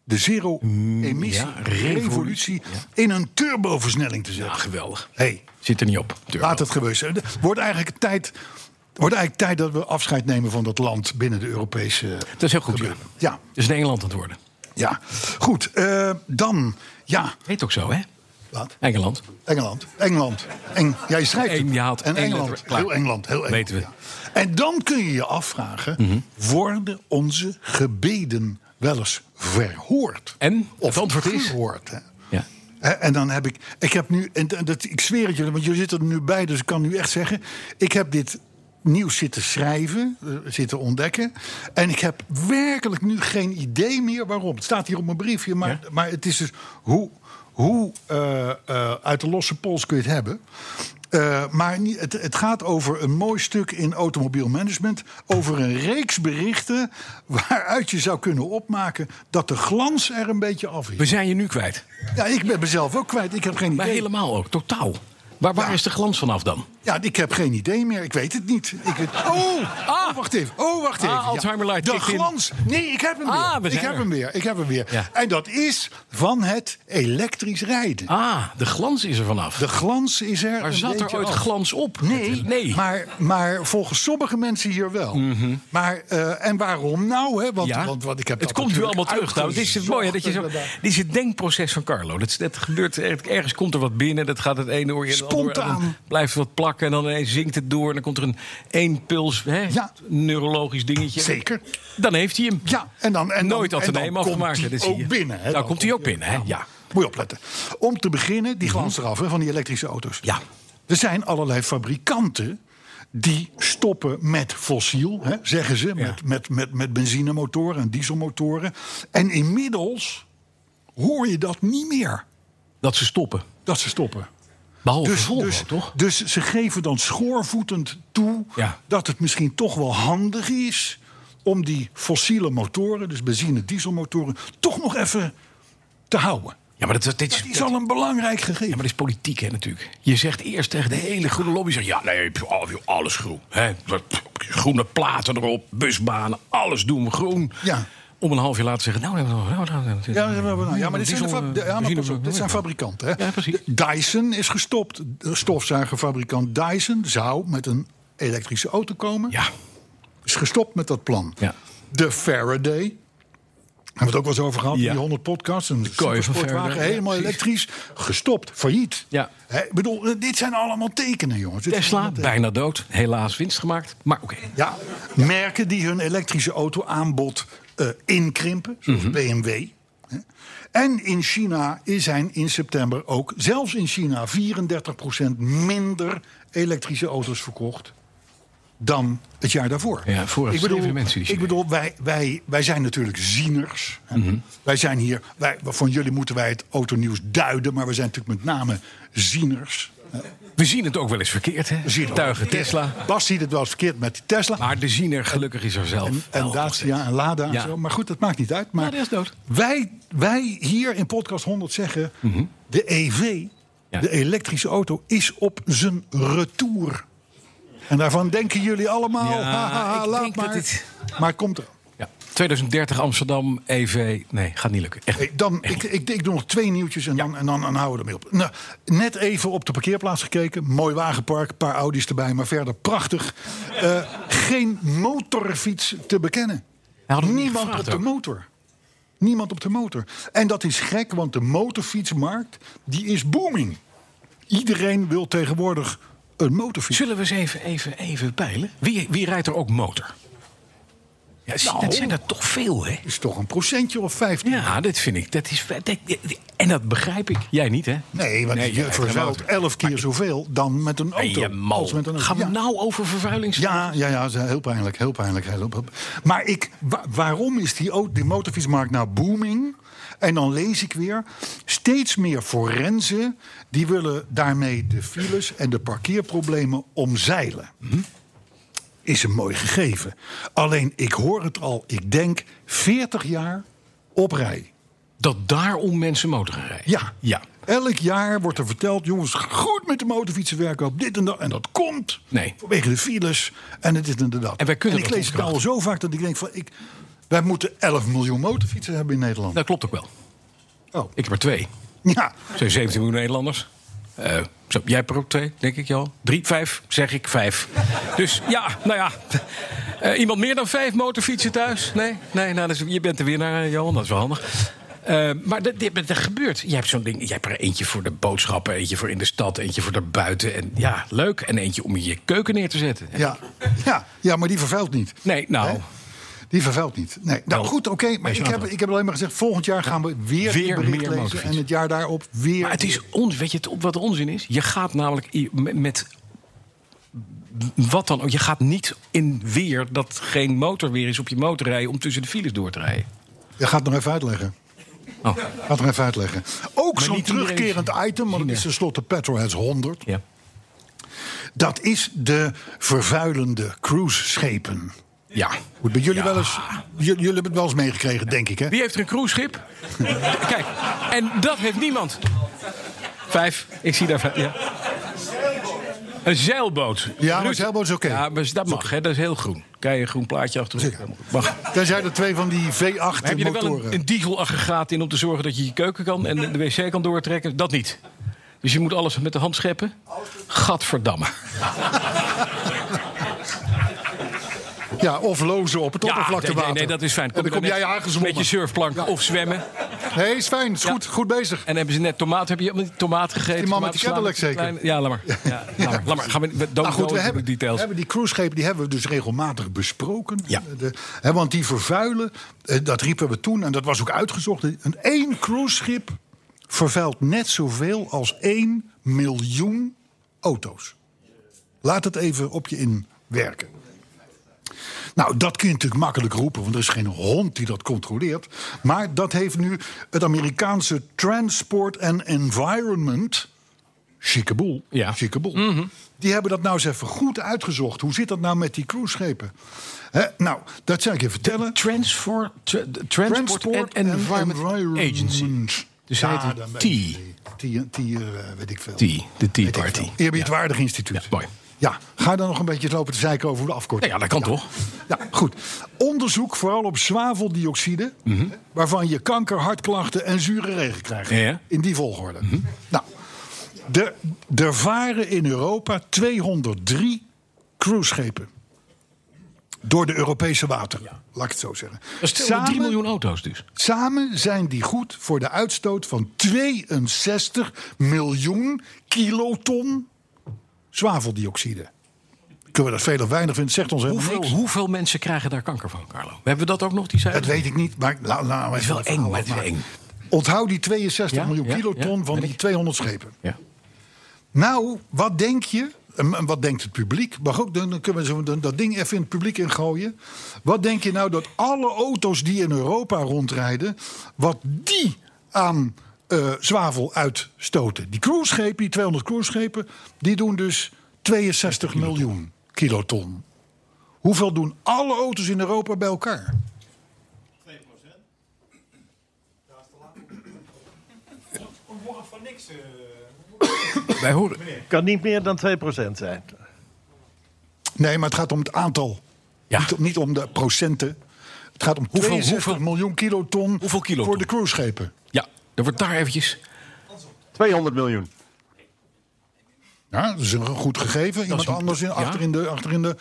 B: de
C: ja, Mm, revolutie,
B: zero-emissie-revolutie... in een turboversnelling te
C: Ah,
B: zetten.
C: geweldig.
B: Hey,
C: Zit er niet op. Turbo.
B: Laat het gebeuren. zijn. Het Wordt eigenlijk tijd. Wordt eigenlijk tijd dat we afscheid nemen van dat land binnen de Europese.
C: Dat is heel goed. Ja.
B: Ja,
C: Dat is in Engeland aan het worden.
B: ja. Goed, eh, dan. Ja,
C: Heet ook zo, hè?
B: Wat?
C: Engeland.
B: Engeland. Engeland. Eng, jij schrijft het.
C: Eng- je haalt
B: en
C: één
B: Engeland.
C: letter, klaar.
B: Heel Engeland. Heel Engeland
C: Weten we. Mhm.
B: ja. En dan kun je je afvragen... worden onze gebeden wel eens verhoord?
C: En?
B: Of
C: Het antwoord is-
B: gehoord? Hè?
C: Ja.
B: Hè, En dan heb ik, ik heb nu, en en dat, ik zweer het jullie, want jullie zitten er nu bij, dus ik kan nu echt zeggen, ik heb dit nieuws zitten schrijven, eh, zitten ontdekken, en ik heb werkelijk nu geen idee meer waarom. Het staat hier op mijn briefje, maar,
C: Ja.
B: maar het is dus hoe, hoe eh, eh, uit de losse pols kun je het hebben. Eh, maar niet, het, het gaat over een mooi stuk in automobielmanagement. Over een reeks berichten. waaruit je zou kunnen opmaken. dat de glans er een beetje af is.
C: We zijn je nu kwijt.
B: Ja, ik ben mezelf ook kwijt. Ik heb geen
C: Maar
B: idee.
C: helemaal ook, totaal. Waar, waar
B: Ja.
C: is de glans vanaf dan?
B: Ja, ik heb geen idee meer. Ik weet het niet. Ik weet... oh, oh, wacht even. Oh, wacht
C: Ah,
B: even. Ja.
C: Alzheimer light
B: De
C: kicked in.
B: glans. Nee, ik heb hem weer.
C: Ah, we
B: ik
C: zijn
B: heb
C: er.
B: hem weer. Ik heb hem weer.
C: Ja.
B: En dat is van het elektrisch rijden.
C: Ah, de glans is er vanaf.
B: De glans is er.
C: maar
B: een
C: zat er
B: beetje
C: ooit
B: af.
C: glans op?
B: Nee,
C: nee. Mhm.
B: Maar, maar volgens sommige mensen hier wel. Maar, eh, en waarom nou? Hè? Want,
C: Ja.
B: want, want ik heb
C: het
B: dat
C: komt nu
B: natuurlijk
C: allemaal terug. Nou, dit is het mooie. hè, Dat je zo, dit
B: uitgezocht.
C: is het denkproces van Carlo. Dat, dat gebeurt er- ergens komt er wat binnen. Dat gaat het ene oor in het andere oor, en dan
B: Spontaan.
C: blijft wat plakken en dan ineens zinkt het door. En dan komt er een één puls, hè,
B: Ja.
C: neurologisch dingetje.
B: Zeker.
C: Dan heeft hij hem.
B: Ja, en dan, en
C: Nooit
B: dan,
C: al te
B: en dan
C: nemen
B: komt
C: afgemaakt.
B: die
C: dat zie je.
B: ook binnen. Hè?
C: Nou, komt hij ook binnen, hè? Ja.
B: Moet je opletten. Om te beginnen, die glans eraf hè, van die elektrische auto's.
C: Ja.
B: Er zijn allerlei fabrikanten die stoppen met fossiel, hè, zeggen ze. Met, met, met, met benzinemotoren en dieselmotoren. En inmiddels hoor je dat niet meer,
C: Dat ze stoppen.
B: dat ze stoppen.
C: Behalve
B: Dus,
C: Volvo,
B: dus,
C: toch?
B: dus ze geven dan schoorvoetend toe
C: Ja.
B: dat het misschien toch wel handig is om die fossiele motoren, dus benzine, dieselmotoren, toch nog even te houden.
C: Ja, maar dat, dat, dit is,
B: Dat is al een belangrijk gegeven.
C: Ja, maar dat is politiek, hè, natuurlijk. Je zegt eerst tegen de hele groene lobby... Zeg, ja, nee, pff, al- joh, alles groen. Hè? Wat, pff, Groene platen erop, busbanen, alles doen we groen.
B: Ja.
C: Om een half jaar later zeggen... Nou, nou, nou, nou, nou, nou,
B: Ja, maar- maar- maar- ja, maar dit zijn, de
C: Diesel,
B: fab-
C: eh,
B: de- ja, maar
C: benzine-
B: pas op, dit zijn fabrikanten. Hè?
C: Ja, precies.
B: De- Dyson is gestopt. De stofzuigerfabrikant Dyson zou met een elektrische auto komen.
C: Ja,
B: Is gestopt met dat plan.
C: Ja.
B: De Faraday. Hebben we het ook wel eens over gehad
C: Ja.
B: in die 100 podcasts. Een
C: kooi van
B: supersportwagen,
C: Faraday, ja,
B: helemaal
C: precies.
B: elektrisch. Gestopt, failliet.
C: Ja.
B: Hè, Ik bedoel, eh, dit zijn allemaal tekenen, jongens. Dit zijn eh,
C: Tesla,
B: allemaal
C: bijna dood. Helaas winst gemaakt. Maar oké.
B: ja, merken die hun elektrische auto aanbod eh, inkrimpen, zoals
C: Mhm.
B: BMW. hè. En in China zijn in september ook, zelfs in China, 34% minder elektrische auto's verkocht dan het jaar daarvoor.
C: Ja, voor het
B: ik bedoel,
C: leven de mensen die
B: ik bedoel wij, wij, wij zijn natuurlijk zieners. hè.
C: Mhm.
B: Wij zijn hier, wij, van jullie moeten wij het autonieuws duiden, maar we zijn natuurlijk met name zieners.
C: We zien het ook wel eens verkeerd, hè?
B: We zien het
C: Tuigen
B: ook verkeerd.
C: Tesla.
B: Bas ziet het wel eens verkeerd met die Tesla.
C: Maar de ziener, gelukkig is er zelf.
B: En, en
C: wel nog steeds.
B: Dacia en Lada en
C: Ja.
B: zo. Maar goed, dat maakt niet uit. Maar
C: Nou, die is dood.
B: Wij, wij hier in podcast 100 zeggen... de EV,
C: Mhm. Ja.
B: de elektrische auto, is op zijn retour. En daarvan denken jullie allemaal...
C: Ja,
B: ha, ha, ha,
C: ik
B: laat
C: denk dat
B: maar.
C: dit-
B: Maar het komt er.
C: Ja. 2030 Amsterdam, EV. Nee, gaat niet lukken. Echt.
B: Hey, dan, ik, ik, ik doe nog twee nieuwtjes en, dan, en dan, en houden we ermee op. Nou, net even op de parkeerplaats gekeken. Mooi wagenpark, een paar Audi's erbij, maar verder prachtig. Eh, geen motorfiets te bekennen.
C: hadden we niet
B: Niemand
C: gevraagd
B: op de
C: ook.
B: motor. Niemand op de motor. En dat is gek, want de motorfietsmarkt die is booming. Iedereen wil tegenwoordig een motorfiets.
C: Zullen we eens even, even, even peilen? Wie, wie rijdt er ook motor? Ja, zie-
B: Nou.
C: dat zijn er toch veel, hè?
B: Dat is toch een procentje of 15.
C: Ja, dit vind ik. Dat is, dat- en dat begrijp ik. Jij niet, hè?
B: Nee, want
C: Nee, je
B: je
C: rijdt geen
B: vervuilt
C: motor.
B: elf keer zoveel dan met een
C: Ben
B: auto.
C: je mal?
B: Als met een auto.
C: Gaan we
B: Ja.
C: nou over vervuiling?
B: Ja, ja, ja, ze- heel pijnlijk, heel pijnlijk. Heel pijnlijk. Maar ik, wa- waarom is die, au- die motorfietsmarkt nou booming? En dan lees ik weer, steeds meer forensen... die willen daarmee de files en de parkeerproblemen omzeilen. Is een mooi gegeven. Alleen, ik hoor het al, ik denk 40 jaar op rij.
C: Dat daarom mensen motor gaan rijden?
B: Ja.
C: ja.
B: Elk jaar wordt er verteld, jongens, goed met de motorfietsen werken op dit en dat. En dat komt
C: Nee.
B: vanwege de files en het dit en dat.
C: En wij kunnen
B: ik
C: dat
B: lees het nou al
C: ontkrachten.
B: zo vaak dat ik denk van, ik, wij moeten 11 miljoen motorfietsen hebben in Nederland.
C: Dat klopt ook wel.
B: Oh.
C: Ik heb er twee.
B: Ja,
C: Er zijn 17 miljoen Nederlanders. Eh, zo, jij hebt er ook twee, denk ik, Johan. Drie, vijf, zeg ik, vijf. Dus ja, nou ja. Eh, iemand meer dan vijf motorfietsen thuis? Nee? Nee, nou, dus, je bent de winnaar, eh, Johan. Dat is wel handig. Eh, maar dat, dit, dat gebeurt. Je hebt zo'n ding. Je hebt er eentje voor de boodschappen, eentje voor in de stad, eentje voor daarbuiten. En ja, leuk. En eentje om in je keuken neer te zetten.
B: Ja. Ja, ja, maar die vervuilt niet.
C: Nee, nou.
B: Hè? Die vervuilt niet. Nee. Nou
C: Nou,
B: goed, oké. maar
C: wees
B: ik heb,
C: later.
B: ik heb alleen maar gezegd: volgend jaar gaan we weer,
C: Weer
B: een bericht
C: meer
B: lezen.
C: motorfiets.
B: En het jaar daarop weer.
C: Maar het is ons, weet je het- wat de onzin is? Je gaat namelijk i- met- met wat dan ook. Je gaat niet in weer dat geen motor weer is op je motor rijden om tussen de files door te rijden.
B: Je gaat het nog even uitleggen.
C: Oh.
B: Gaat het nog even uitleggen. Ook zo'n
C: niet iedereen
B: terugkerend item, want het is tenslotte Petrolheads 100.
C: Ja.
B: Dat is de vervuilende cruiseschepen.
C: Ja.
B: Goed, Bij jullie
C: Ja.
B: wel eens, j- jullie hebben het wel eens meegekregen, denk ik, hè?
C: Wie heeft er een cruiseschip? *laughs* Kijk, en dat heeft niemand. Vijf, ik zie daar vijf. Ja. Een zeilboot.
B: Ja, maar
C: Ruud-
B: zeilboot is oké.
C: Ja, maar dat mag, hè, dat is heel groen. Kijk, een groen plaatje achterop.
B: Zeker.
C: Mag.
B: Tenzij er twee van die
C: Maar heb je er wel
B: V8-motoren...
C: een, een dieselaggregaat in om te zorgen dat je je keuken kan en de wc kan doortrekken? Dat niet. Dus je moet alles met de hand scheppen? Gadverdamme.
B: Ja, of lozen op het
C: nee,
B: oppervlaktewater.
C: nee, nee, dat is fijn.
B: En dan kom
C: er
B: jij
C: net
B: aangezwommen.
C: Met je surfplank of zwemmen.
B: Nee, is fijn. Is
C: Ja.
B: goed. Goed bezig.
C: En hebben ze net tomaat? Heb je allemaal die tomaat gegeten?
B: Die man met die
C: Tomaatensla-
B: Cadillac zeker.
C: Ja, laat maar. Ja, laat maar. Laat maar. Gaan we, we don't
B: Nou goed,
C: go
B: we
C: into
B: hebben,
C: the details.
B: hebben die cruiseschepen die hebben we dus regelmatig besproken. Eh,
C: Ja.
B: De, hè, want die vervuilen, eh, dat riepen we toen en dat was ook uitgezocht. Een één cruiseschip vervuilt net zoveel als 1 miljoen auto's. Laat het even op je inwerken. Nou, dat kun je natuurlijk makkelijk roepen, want er is geen hond die dat controleert. Maar dat heeft nu het Amerikaanse Transport and Environment. Chique boel.
C: Ja. Mhm.
B: Chique boel. Die hebben dat nou eens even goed uitgezocht. Hoe zit dat nou met die cruiseschepen? Hè, nou, dat zal ik je vertellen.
C: Transfor- tra- Transport,
B: Transport
C: and
B: and
C: Environment,
B: Environment.
C: Agency. Dus hij heet
B: dan
C: een
B: weet ik
C: T.
B: niet. T, T, eh, weet ik veel.
C: T, de Tea
B: Weet ik
C: Party.
B: veel. Eerbiedwaardig instituut.
C: Ja, mooi.
B: Ja, ga je dan nog een beetje lopen te zeiken over hoe de afkorting.
C: Nou ja, dat kan toch?
B: Ja, goed. Onderzoek vooral op zwaveldioxide, hè, waarvan je kanker, hartklachten en zure regen krijgt.
C: Mhm. Ja. Mhm.
B: In die volgorde. Nou, er, er varen in Europa 203 cruiseschepen. Door de Europese wateren, laat ik het zo zeggen.
C: Dat is 203 miljoen auto's dus.
B: Samen zijn die goed voor de uitstoot van 62 miljoen kiloton zwaveldioxide. Kunnen we dat veel of weinig vinden? Zegt ons helemaal
C: Hoeveel,
B: niks.
C: hoeveel mensen krijgen daar kanker van, Carlo? Hebben we dat ook nog, die cijfers?
B: Dat weet ik niet, maar nou, nou,
C: Het is wel eng, maar het is wel eng.
B: Onthoud die 62
C: Ja,
B: miljoen
C: ja,
B: kiloton
C: ja,
B: van
C: weet
B: die
C: ik.
B: 200 schepen.
C: Ja.
B: Nou, wat denk je? En en wat denkt het publiek? Maar ook, dan dan kunnen we zo dan dat ding even in het publiek ingooien. Wat denk je nou dat alle auto's die in Europa rondrijden... wat die aan eh, zwavel uitstoten? Die cruiseschepen, die 200 cruiseschepen... die doen dus 62 miljoen kiloton. Hoeveel doen alle auto's in Europa bij elkaar?
C: 2%. Wij horen...
H: Kan niet meer dan 2% zijn.
B: Nee, maar het gaat om het aantal.
C: Ja.
B: Niet, niet om de procenten. Het gaat om
C: Hoeveel-
B: 62
C: hoeveel-
B: miljoen kiloton,
C: Hoeveel kiloton?
B: voor de cruiseschepen.
C: Ja, er wordt daar eventjes...
H: 200 miljoen.
B: Ja, dat is een goed gegeven. Iemand
C: een-
B: anders in,
C: ja.
B: achterin de... Achterin de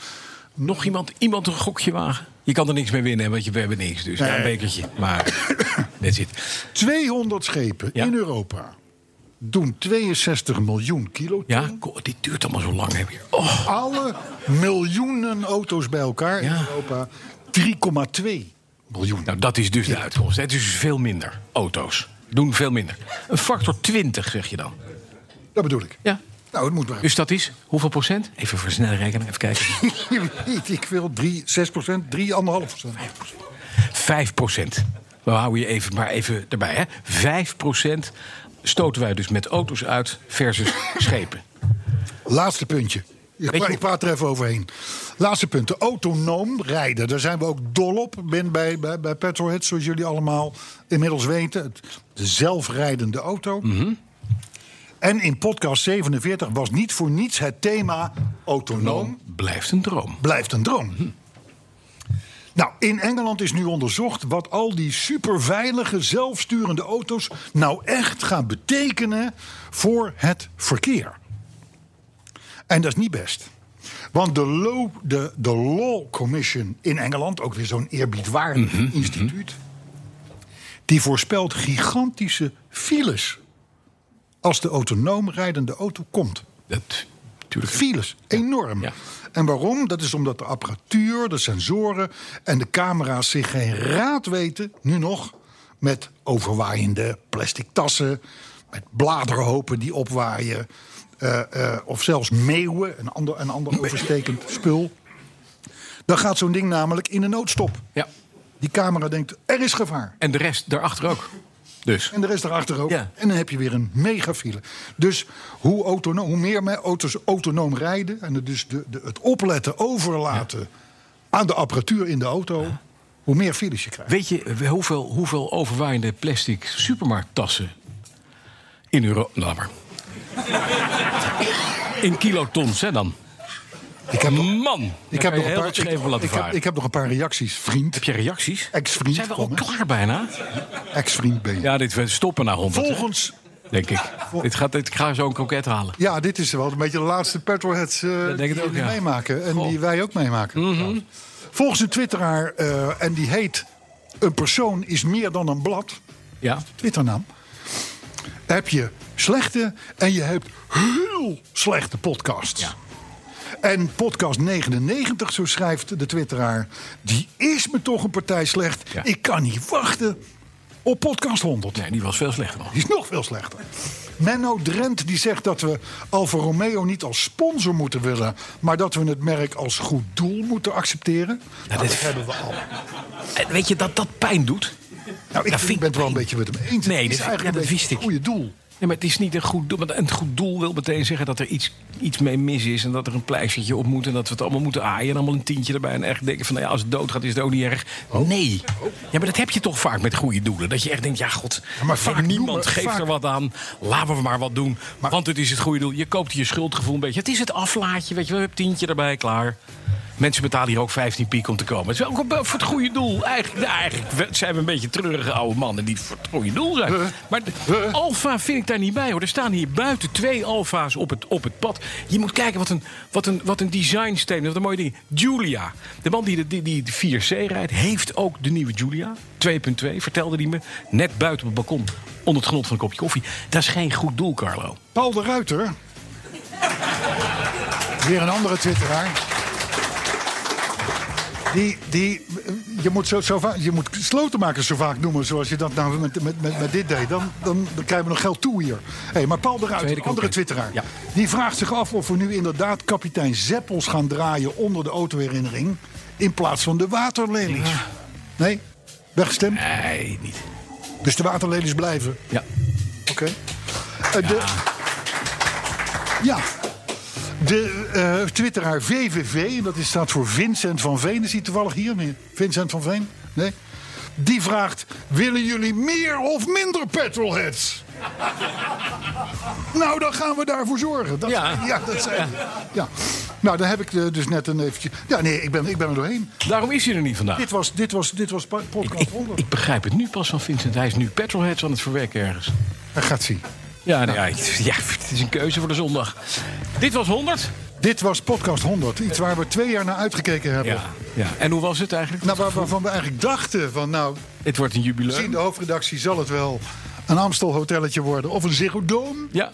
C: Nog iemand, iemand een gokje wagen? Je kan er niks mee winnen, hè, want je, we hebben niks. Dus ja, een bekertje. Maar dit zit.
B: 200 schepen
C: Ja.
B: in Europa doen 62 miljoen kiloton.
C: Ja, ko- dit duurt allemaal zo lang. Hè, weer. Oh,
B: Alle miljoenen auto's bij elkaar
C: Ja.
B: in Europa 3,2 miljoen.
C: nou, dat is dus de uitkomst. hè. Het is dus veel minder. Auto's doen veel minder. Een factor 20, zeg je dan.
B: Dat bedoel ik.
C: Ja.
B: Nou, het moet maar...
C: Dus dat is hoeveel procent? Even versnellen rekenen, even kijken.
B: *laughs* ik wil 3, 6 procent, 3,5 procent.
C: 5 procent. We houden je even, maar even erbij. Hè. 5 procent stoten wij dus met auto's uit versus schepen.
B: Laatste puntje. Ik,
C: je
B: pra-
C: hoe-
B: ik praat er even overheen. Laatste punt. de Autonoom rijden. Daar zijn we ook dol op. Ben bij, bij, bij Petrolhead, zoals jullie allemaal inmiddels weten. Het, de zelfrijdende auto. En in podcast 47 was niet voor niets het thema autonoom
C: Blijft een droom.
B: blijft een droom. Nou, in Engeland is nu onderzocht wat al die superveilige zelfsturende auto's nou echt gaan betekenen voor het verkeer. En dat is niet best. Want de Law, de, de law Commission in Engeland, ook weer zo'n eerbiedwaardig instituut, Die voorspelt gigantische files. Als de autonoom rijdende auto komt.
C: Dat, natuurlijk.
B: Files, enorm.
C: Ja.
B: En waarom? Dat is omdat de apparatuur, de sensoren en de camera's zich geen raad weten, nu nog, met overwaaiende plastic tassen, met bladerhopen die opwaaien, eh, eh, of zelfs meeuwen, een ander, een ander overstekend spul. Dan gaat zo'n ding namelijk in de noodstop.
C: Ja.
B: Die camera denkt, er is gevaar.
C: En de rest daarachter ook. Dus.
B: En de rest erachter ook.
C: Ja.
B: En dan heb je weer een megafile. Dus hoe, autonoom, hoe meer me- auto's autonoom rijden... en het dus de, de, het opletten, overlaten aan de apparatuur in de auto... hoe meer files je krijgt.
C: Weet je hoeveel, hoeveel overwaaiende plastic supermarkttassen in Europa... Nou, maar. In kilotons, hè dan?
B: Ik heb, nog-
C: Man!
B: ik, heb
C: daar kan
B: nog
C: je
B: een
C: heel
B: paar,
C: wat scheef
B: ik,
C: van laten
B: ik heb,
C: varen.
B: ik heb nog een paar reacties. Vriend,
C: Heb je reacties?
B: Ex-vriend
C: Zijn we al
B: van me.
C: klaar bijna?
B: ex-vriend ben je.
C: Ja, dit we stoppen na 100. hè?
B: Volgens...
C: Denk ik. Dit gaat, dit, ik ga zo een kroket halen.
B: Ja, dit is wel een beetje de laatste petrolheads eh,
C: ik
B: die
C: het ook,
B: jullie
C: ja.
B: meemaken. En
C: Goh.
B: die wij ook meemaken. trouwens. Volgens een twitteraar, eh, en die heet... Een persoon is meer dan een blad...
C: Ja.
B: Twitternaam. Heb je slechte en je hebt heel slechte podcasts.
C: Ja.
B: En podcast 99, zo schrijft de twitteraar... die is me toch een partij slecht.
C: Ja.
B: Ik kan niet wachten op podcast 100.
C: Nee, die was veel slechter dan.
B: Die is nog veel slechter. Menno Drent die zegt dat we Alfa Romeo niet als sponsor moeten willen... maar dat we het merk als goed doel moeten accepteren. Nou, dat hebben we al.
C: En weet je dat dat pijn doet?
B: Nou, ik
C: Dat vind
B: ben het wel een beetje met hem eens.
C: Nee,
B: het is
C: dat-
B: eigenlijk
C: ja, dat
B: een beetje
C: wist
B: het
C: ik.
B: goede doel.
C: Nee, maar het is niet een goed doel. Want een goed doel wil meteen zeggen dat er iets, iets mee mis is. En dat er een pleistertje op moet. En dat we het allemaal moeten aaien. En allemaal een tientje erbij. En echt denken van, nou ja, als het doodgaat is het ook niet erg. Nee. Ja, maar dat heb je toch vaak met goede doelen. Dat je echt denkt, ja god,
B: maar
C: maar
B: vaak
C: niemand
B: noemen-
C: geeft
B: vaak-
C: er wat aan. Laten we maar wat doen. want het is het goede doel. Je koopt je schuldgevoel een beetje. Het is het aflaatje, weet je wel. Je hebt tientje erbij, klaar. Mensen betalen hier ook 15 piek om te komen. Het is wel ook wel voor het goede doel. Eigenlijk, nou, eigenlijk zijn we een beetje treurige oude mannen die voor het goede doel zijn. Maar de- Alfa vind ik daar niet bij hoor. Er staan hier buiten twee Alfa's op het, op het pad. Je moet kijken wat een, wat een, wat een designsteem. Wat een mooie ding. Julia. De man die de, die, die de 4C rijdt, heeft ook de nieuwe Julia. 2.2, vertelde hij me. Net buiten op het balkon. Onder het genot van een kopje koffie. Dat is geen goed doel, Carlo.
B: Paul de Ruiter. Weer een andere twitteraar. Die, die, je, moet zo, zo vaak, je moet slotenmakers zo vaak noemen zoals je dat nou met, met, met, met dit deed. Dan, dan, dan krijgen we nog geld toe hier. Hey, maar Paul de Ruiter,
C: Tweede
B: een andere
C: kroket.
B: twitteraar.
C: Ja.
B: Die vraagt zich af of we nu inderdaad kapitein Zeppels gaan draaien onder de autoherinnering. In plaats van de waterlelies. Nee? Weggestemd?
C: Nee, niet.
B: Dus de waterlelies blijven.
C: Ja.
B: Oké. Eh, de- ja. De eh, twitteraar VVV, en dat is- staat voor Vincent van Veen. Is hij toevallig hier? Nee, Vincent van Veen? Nee? Die vraagt, willen jullie meer of minder petrolheads? *laughs* nou, dan gaan we daarvoor zorgen. Dat, ja.
C: Ja.
B: dat zijn ja. Nou, dan heb ik eh, dus net een eventje... Ja, nee, ik ben, ik ben er doorheen.
C: Daarom is hij er niet vandaag.
B: Dit was, dit was, dit was pa- podcast
C: Ik,
B: 100.
C: ik begrijp het nu pas van Vincent. Hij is nu petrolheads aan het verwerken ergens. Nou,
B: Hij gaat zien.
C: Ja, nee, ja, het- ja, het is een keuze voor de zondag. Dit was 100.
B: Dit was podcast 100. Iets waar we twee jaar naar uitgekeken hebben.
C: ja. En hoe was het eigenlijk?
B: Nou, waar- waarvan we eigenlijk dachten van, nou,
C: Dit wordt een
B: gezien
C: jubileum.
B: de hoofdredactie zal het wel een Amstel hotelletje worden of een Ziggo Dome.
C: Ja,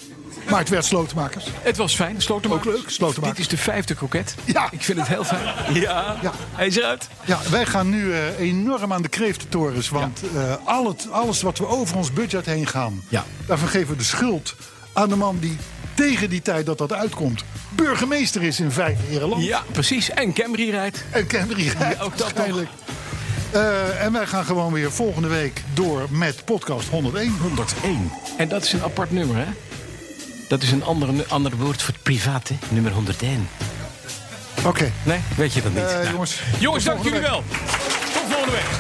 B: Maar het werd slotenmakers.
C: het was fijn. Slotenmakers.
B: Ook leuk, slotenmakers.
C: Dit is de vijfde kroket.
B: Ja.
C: Ik vind het heel fijn. Ja.
B: Ja.
C: Hij is eruit.
B: Ja, wij gaan nu eh, enorm aan de kreeftentorens, want eh, al het, alles wat we over ons budget heen gaan,
C: Ja.
B: daarvan geven we de schuld aan de man die tegen die tijd dat dat uitkomt, burgemeester is in vijf Ierland.
C: Ja, precies. En Camry rijdt.
B: En Kendrick rijdt
C: ook dat
B: waarschijnlijk. Eh, en wij gaan gewoon weer volgende week door met podcast 101.
C: 101. En dat is een apart nummer, hè? Dat is een ander, ander woord voor het privaat, hè? Nummer 101.
B: Oké.
C: Nee, weet je dat niet.
B: Eh,
C: Nou.
B: jongens, tot
C: jongens dank
B: volgende
C: jullie wel. Tot volgende week.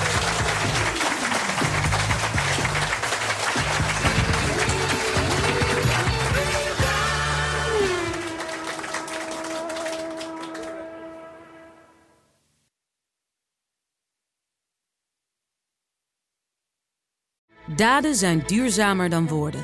I: Daden zijn duurzamer dan woorden.